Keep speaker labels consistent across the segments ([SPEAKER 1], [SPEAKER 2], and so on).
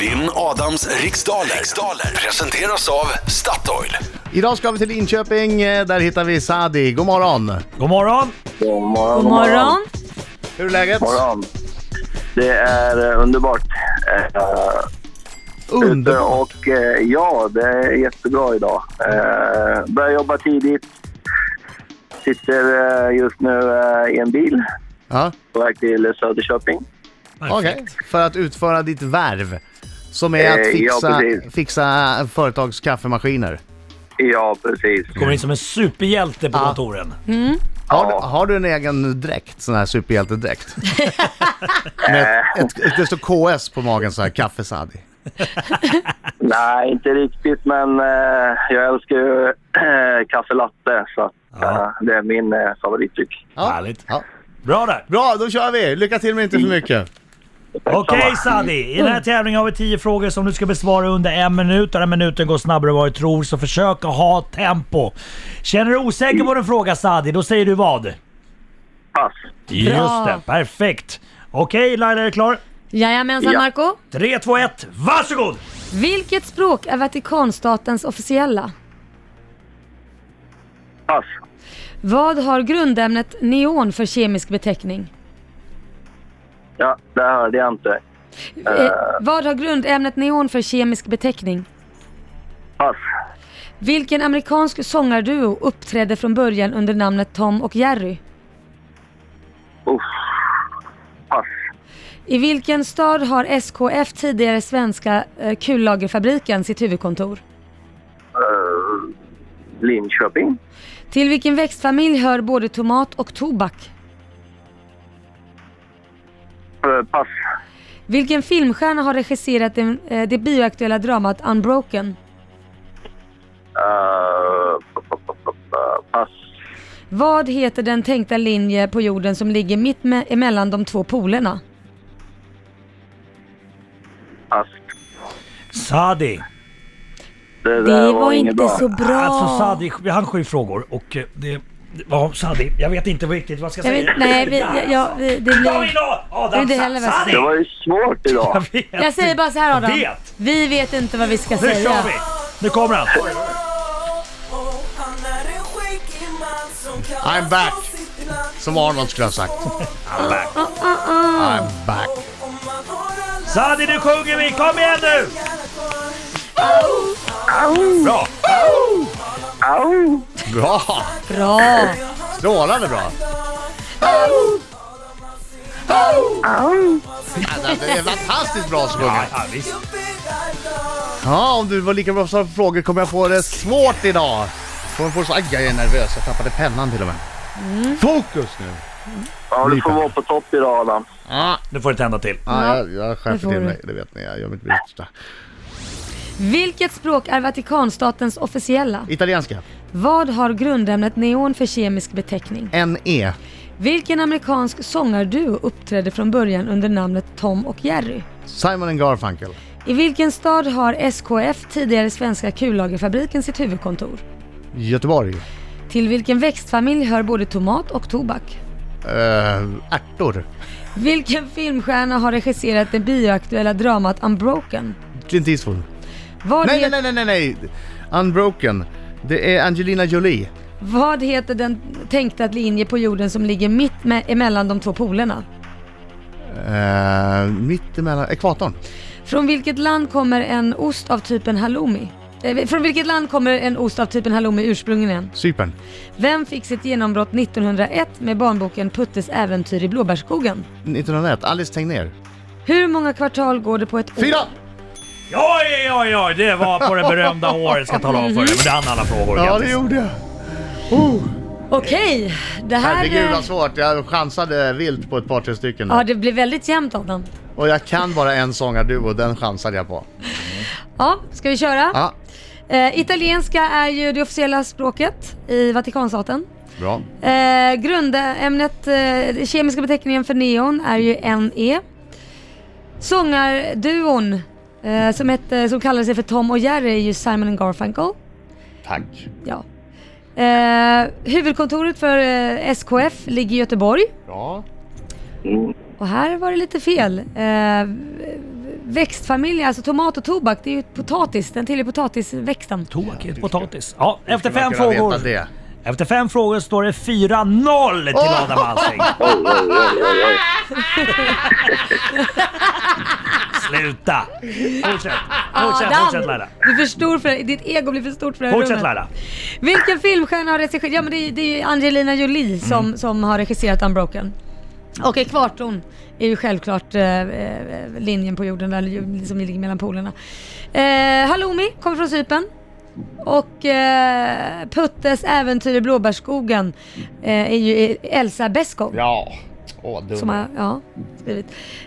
[SPEAKER 1] Vinn Adams riksdaler. riksdaler presenteras av Statoil.
[SPEAKER 2] Idag ska vi till Linköping, eh, där hittar vi Sadi. God morgon!
[SPEAKER 3] God morgon!
[SPEAKER 4] God morgon.
[SPEAKER 5] God morgon.
[SPEAKER 2] Hur är läget?
[SPEAKER 4] morgon. Det är eh, underbart. Eh, ute
[SPEAKER 2] Underbart!
[SPEAKER 4] och eh, ja, det är jättebra idag. Eh, börjar jobba tidigt. Sitter eh, just nu eh, i en bil
[SPEAKER 2] Ja,
[SPEAKER 4] på väg till Söderköping.
[SPEAKER 2] okej. För att utföra ditt värv, som är
[SPEAKER 4] Eh,
[SPEAKER 2] att
[SPEAKER 4] ja,
[SPEAKER 2] fixa,
[SPEAKER 4] precis.
[SPEAKER 2] fixa eh, företags kaffemaskiner.
[SPEAKER 4] Ja, precis.
[SPEAKER 3] Kommer in som en superhjälte på
[SPEAKER 2] Ja.
[SPEAKER 3] kontoren.
[SPEAKER 2] Har, du-
[SPEAKER 4] Ja.
[SPEAKER 2] har du en egen dräkt, sån här superhjältedräkt? Med
[SPEAKER 4] Eh,
[SPEAKER 2] ett, ett, det står KS på magen så här, kaffe Sadi.
[SPEAKER 4] Nej, inte riktigt, men eh, jag älskar ju eh, kaffe latte. Så att, eh, det är min eh, favoritdryck.
[SPEAKER 3] Härligt.
[SPEAKER 2] Ja.
[SPEAKER 3] Bra där!
[SPEAKER 2] Bra, då kör vi! Lycka till men inte för
[SPEAKER 4] Mm.
[SPEAKER 2] mycket.
[SPEAKER 3] Okej
[SPEAKER 4] Samma.
[SPEAKER 3] Sadi, i den här tävlingen har vi 10 frågor som du ska besvara under en minut. Den här minuten går snabbare än vad du tror, så försök att ha tempo. Känner du dig osäker på en fråga Sadi, då säger du vad?
[SPEAKER 4] Pass.
[SPEAKER 3] Just det, perfekt! Okej Laila, är du klar?
[SPEAKER 5] Jajamensan
[SPEAKER 4] Ja.
[SPEAKER 5] Marco.
[SPEAKER 3] 3, 2, 1, varsågod!
[SPEAKER 5] Vilket språk är Vatikanstatens officiella?
[SPEAKER 4] Pass.
[SPEAKER 5] Vad har grundämnet neon för kemisk beteckning?
[SPEAKER 4] Ja, det hörde jag inte.
[SPEAKER 5] Eh, vad har grundämnet neon för kemisk beteckning?
[SPEAKER 4] Pass.
[SPEAKER 5] Vilken amerikansk sångarduo uppträdde från början under namnet Tom och Jerry?
[SPEAKER 4] Uff. Pass.
[SPEAKER 5] I vilken stad har SKF, tidigare svenska eh, kullagerfabriken, sitt huvudkontor?
[SPEAKER 4] Eh, Linköping.
[SPEAKER 5] Till vilken växtfamilj hör både tomat och tobak?
[SPEAKER 4] Eh, Pass.
[SPEAKER 5] Vilken filmstjärna har regisserat den, eh, det bioaktuella dramat Unbroken?
[SPEAKER 4] Eh, pa- pa- pa- pa- pa- pass.
[SPEAKER 5] Vad heter den tänkta linje på jorden som ligger mitt me- emellan de två polerna?
[SPEAKER 4] Pass.
[SPEAKER 3] Sadi,
[SPEAKER 4] Det, där
[SPEAKER 5] bra.
[SPEAKER 3] alltså Sadi, vi hann sju frågor och eh, det... Ja, Sadi, jag vet inte riktigt vad jag ska
[SPEAKER 5] Jag
[SPEAKER 3] säga.
[SPEAKER 5] vet, nej, vi, jag, jag, vi, det
[SPEAKER 3] Kom
[SPEAKER 5] blir...
[SPEAKER 3] idag! Adam,
[SPEAKER 5] Det är det heller vad jag
[SPEAKER 3] Sadi!
[SPEAKER 4] Det var ju svårt idag.
[SPEAKER 3] Jag vet.
[SPEAKER 5] Jag säger bara så här Adam.
[SPEAKER 3] Vet.
[SPEAKER 5] Vi vet inte vad vi ska
[SPEAKER 3] Nu kör
[SPEAKER 5] säga.
[SPEAKER 3] vi! Nu kommer han!
[SPEAKER 2] I'm back. Som Arnold skulle ha sagt.
[SPEAKER 5] Uh-uh.
[SPEAKER 2] I'm back.
[SPEAKER 3] Sadi, nu sjunger vi! Kom igen nu! Bra!
[SPEAKER 4] Au!
[SPEAKER 2] Bra!
[SPEAKER 5] Bra!
[SPEAKER 2] Strålande bra! Ja, det är fantastiskt bra
[SPEAKER 3] Ja,
[SPEAKER 2] sjunget.
[SPEAKER 3] ja, visst.
[SPEAKER 2] Ja, om du var lika bra som frågor kommer jag få det svårt idag. Kommer få så... Aj, jag är nervös. Jag tappade pennan till och med.
[SPEAKER 5] Mm.
[SPEAKER 2] Fokus nu!
[SPEAKER 4] Ja, du får vara på topp idag Adam.
[SPEAKER 2] Ah,
[SPEAKER 3] Nu får det tända till.
[SPEAKER 2] ah, jag, jag
[SPEAKER 5] det
[SPEAKER 2] skärper
[SPEAKER 5] får
[SPEAKER 2] till
[SPEAKER 5] du.
[SPEAKER 2] mig, det vet ni. Jag gör mitt bästa.
[SPEAKER 5] Vilket språk är Vatikanstatens officiella?
[SPEAKER 2] Italienska.
[SPEAKER 5] Vad har grundämnet neon för kemisk beteckning?
[SPEAKER 2] N-E.
[SPEAKER 5] Vilken amerikansk sångarduo uppträdde från början under namnet Tom och Jerry?
[SPEAKER 2] Simon and Garfunkel.
[SPEAKER 5] I vilken stad har SKF, tidigare svenska kullagerfabriken, sitt huvudkontor?
[SPEAKER 2] Göteborg.
[SPEAKER 5] Till vilken växtfamilj hör både tomat och tobak?
[SPEAKER 2] Eh, ärtor.
[SPEAKER 5] Vilken filmstjärna har regisserat det bioaktuella dramat Unbroken?
[SPEAKER 2] Clint Eastwood.
[SPEAKER 5] Vad,
[SPEAKER 2] Nej, nej,
[SPEAKER 5] het-
[SPEAKER 2] nej, nej, nej, nej. Unbroken. Det är Angelina Jolie.
[SPEAKER 5] vad heter den tänkta linje på jorden som ligger mitt me- emellan de två polerna?
[SPEAKER 2] Uh, mitt emellan ekvatorn.
[SPEAKER 5] Från vilket land kommer en ost av typen halloumi? Eh, Från vilket land kommer en ost av typen halloumi ursprungligen?
[SPEAKER 2] Cypern.
[SPEAKER 5] Vem fick sitt genombrott 1901 med barnboken Puttes äventyr i blåbärskogen?
[SPEAKER 2] 1901. Alice Tegnér.
[SPEAKER 5] Hur många kvartal går det på ett år?
[SPEAKER 2] Fyra!
[SPEAKER 3] Oj, oj, oj! Det var på det berömda håret ska jag tala om för dig. Men det hann alla frågor.
[SPEAKER 2] Ja, det
[SPEAKER 3] Grattis.
[SPEAKER 2] gjorde jag.
[SPEAKER 5] Okej, det här...
[SPEAKER 2] Herregud alltså.
[SPEAKER 5] eh,
[SPEAKER 2] vad svårt. Jag chansade vilt på ett par, tre stycken.
[SPEAKER 5] Ja,
[SPEAKER 2] där.
[SPEAKER 5] det blir väldigt jämnt Adam.
[SPEAKER 2] Och jag kan bara en sångarduo, den chansade jag på.
[SPEAKER 5] Ja, ska vi köra?
[SPEAKER 2] Ja,
[SPEAKER 5] Eh, italienska är ju det officiella språket i Vatikanstaten.
[SPEAKER 2] bra.
[SPEAKER 5] Eh, grundämnet, eh, den kemiska beteckningen för neon är ju NE. Sångarduon eh, som, hette, som kallade sig för Tom och Jerry är ju Simon and Garfunkel.
[SPEAKER 2] Tack.
[SPEAKER 5] Ja. Eh, huvudkontoret för eh, SKF ligger i Göteborg.
[SPEAKER 2] Bra.
[SPEAKER 5] Och här var det lite fel. Eh, växtfamilj, alltså tomat och tobak, det är ju potatis, den tillhör potatisväxten.
[SPEAKER 3] Tobak är potatis. Ja, efter fem
[SPEAKER 2] skulle kunna
[SPEAKER 3] frågor.
[SPEAKER 2] veta det.
[SPEAKER 3] Efter fem frågor står det 4-0 till Adam Alsing. Sluta! Fortsätt, fortsätt, fortsätt Laila.
[SPEAKER 5] Ah, du är för stor för ditt ego blir för stort för det här
[SPEAKER 3] Fortsätt
[SPEAKER 5] rummet.
[SPEAKER 3] Laila.
[SPEAKER 5] Vilken filmstjärna har regisserat? Ja men det är, det är ju Angelina
[SPEAKER 3] Mm.
[SPEAKER 5] Jolie som, som har regisserat Unbroken. Och ekvatorn är ju självklart eh, eh, linjen på jorden där ju- som ligger mellan polerna. Eh, Halloumi kommer från Cypern. Och eh, Puttes äventyr i blåbärsskogen eh, är ju Elsa Beskow.
[SPEAKER 2] Ja. Åh, du
[SPEAKER 5] Som
[SPEAKER 2] var
[SPEAKER 5] har ja, skrivit.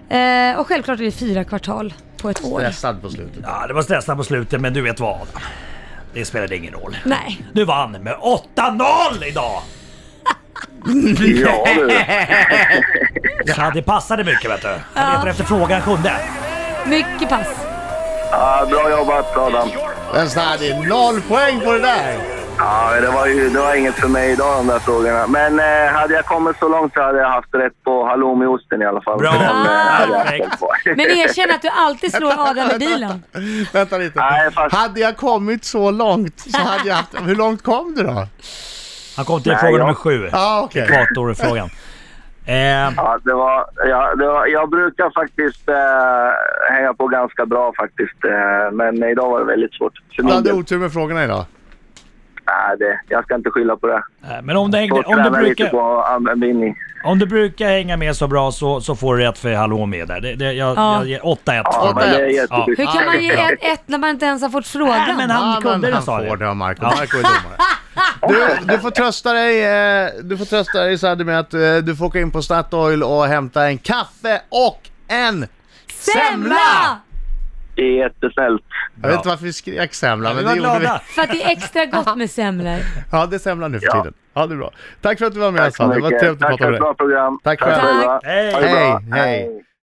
[SPEAKER 5] Eh, och självklart är det fyra kvartal på ett år.
[SPEAKER 2] stressad på slutet.
[SPEAKER 3] Ja, det var stressande på slutet men du vet vad Adam. Det spelade ingen roll.
[SPEAKER 5] Nej.
[SPEAKER 3] Du vann med 8-0 idag!
[SPEAKER 4] Ja du.
[SPEAKER 3] Ja, det passade mycket vet du. Han letade efter frågan sjunde.
[SPEAKER 5] Mycket pass.
[SPEAKER 4] Ja, bra jobbat Adam.
[SPEAKER 2] Men snälla, det är noll poäng på det där.
[SPEAKER 4] Ja, det var, ju, det var inget för mig idag de där frågorna. Men eh, hade jag kommit så långt så hade jag haft rätt på halloumiosten i alla fall.
[SPEAKER 3] Bra.
[SPEAKER 4] Den, eh, hade jag
[SPEAKER 3] Perfekt.
[SPEAKER 4] ställt på.
[SPEAKER 5] Men erkänn att du alltid slår Adam med bilen.
[SPEAKER 2] Vänta lite.
[SPEAKER 4] Nej, fast-
[SPEAKER 2] Hade jag kommit så långt så hade jag haft... Hur långt kom du då?
[SPEAKER 3] Han kom till
[SPEAKER 4] Nej,
[SPEAKER 3] fråga
[SPEAKER 4] jag-
[SPEAKER 3] nummer sju.
[SPEAKER 2] Ja, okej.
[SPEAKER 3] Ekvatorfrågan. Eh,
[SPEAKER 4] Ja, det var, ja, det var, jag brukar faktiskt eh, hänga på ganska bra faktiskt. Eh, men idag var det väldigt svårt. För
[SPEAKER 2] Du
[SPEAKER 4] min
[SPEAKER 2] hade
[SPEAKER 4] del.
[SPEAKER 2] otur med frågorna idag.
[SPEAKER 4] Nej, det, jag ska inte skylla på det.
[SPEAKER 3] men om du, hängde,
[SPEAKER 4] Får
[SPEAKER 3] om, du
[SPEAKER 4] träna lite
[SPEAKER 3] brukar,
[SPEAKER 4] på användning.
[SPEAKER 3] om du brukar hänga med så bra så, så får du rätt för halloumi där. Det, det, jag,
[SPEAKER 5] Ja.
[SPEAKER 3] jag ger 8-1.
[SPEAKER 4] Ja, men det är
[SPEAKER 3] Ja.
[SPEAKER 4] jätteschysst.
[SPEAKER 5] Hur kan man ge ett, ett när man inte ens har fått
[SPEAKER 3] Nej,
[SPEAKER 5] frågan?
[SPEAKER 3] men han
[SPEAKER 2] Ja,
[SPEAKER 3] kunde
[SPEAKER 2] men
[SPEAKER 3] det
[SPEAKER 2] han
[SPEAKER 3] sa
[SPEAKER 2] får
[SPEAKER 3] du.
[SPEAKER 2] det av Marco. Marco är domare. Du, du får trösta dig, eh, du får trösta dig Sadie med att eh, du får åka in på Statoil och hämta en kaffe och en semla!
[SPEAKER 4] Det är jättesnällt.
[SPEAKER 2] Jag vet inte varför vi skrek semla,
[SPEAKER 3] Vi
[SPEAKER 2] men
[SPEAKER 3] var
[SPEAKER 2] det gjorde vi.
[SPEAKER 3] glada.
[SPEAKER 5] För att det är extra gott med semlor.
[SPEAKER 2] Ja, det är semla nu för
[SPEAKER 4] Ja.
[SPEAKER 2] tiden. Ja, det är bra. Tack för att du var med
[SPEAKER 4] Tack så
[SPEAKER 2] Sadie. Det var
[SPEAKER 4] mycket.
[SPEAKER 2] trevligt att
[SPEAKER 4] Tack
[SPEAKER 2] prata
[SPEAKER 4] för
[SPEAKER 2] med
[SPEAKER 4] ett
[SPEAKER 2] dig.
[SPEAKER 4] bra program.
[SPEAKER 2] Tack själv.
[SPEAKER 4] själva.
[SPEAKER 3] Hej.
[SPEAKER 4] Ha det bra.
[SPEAKER 2] Hej, hej.
[SPEAKER 4] Hej.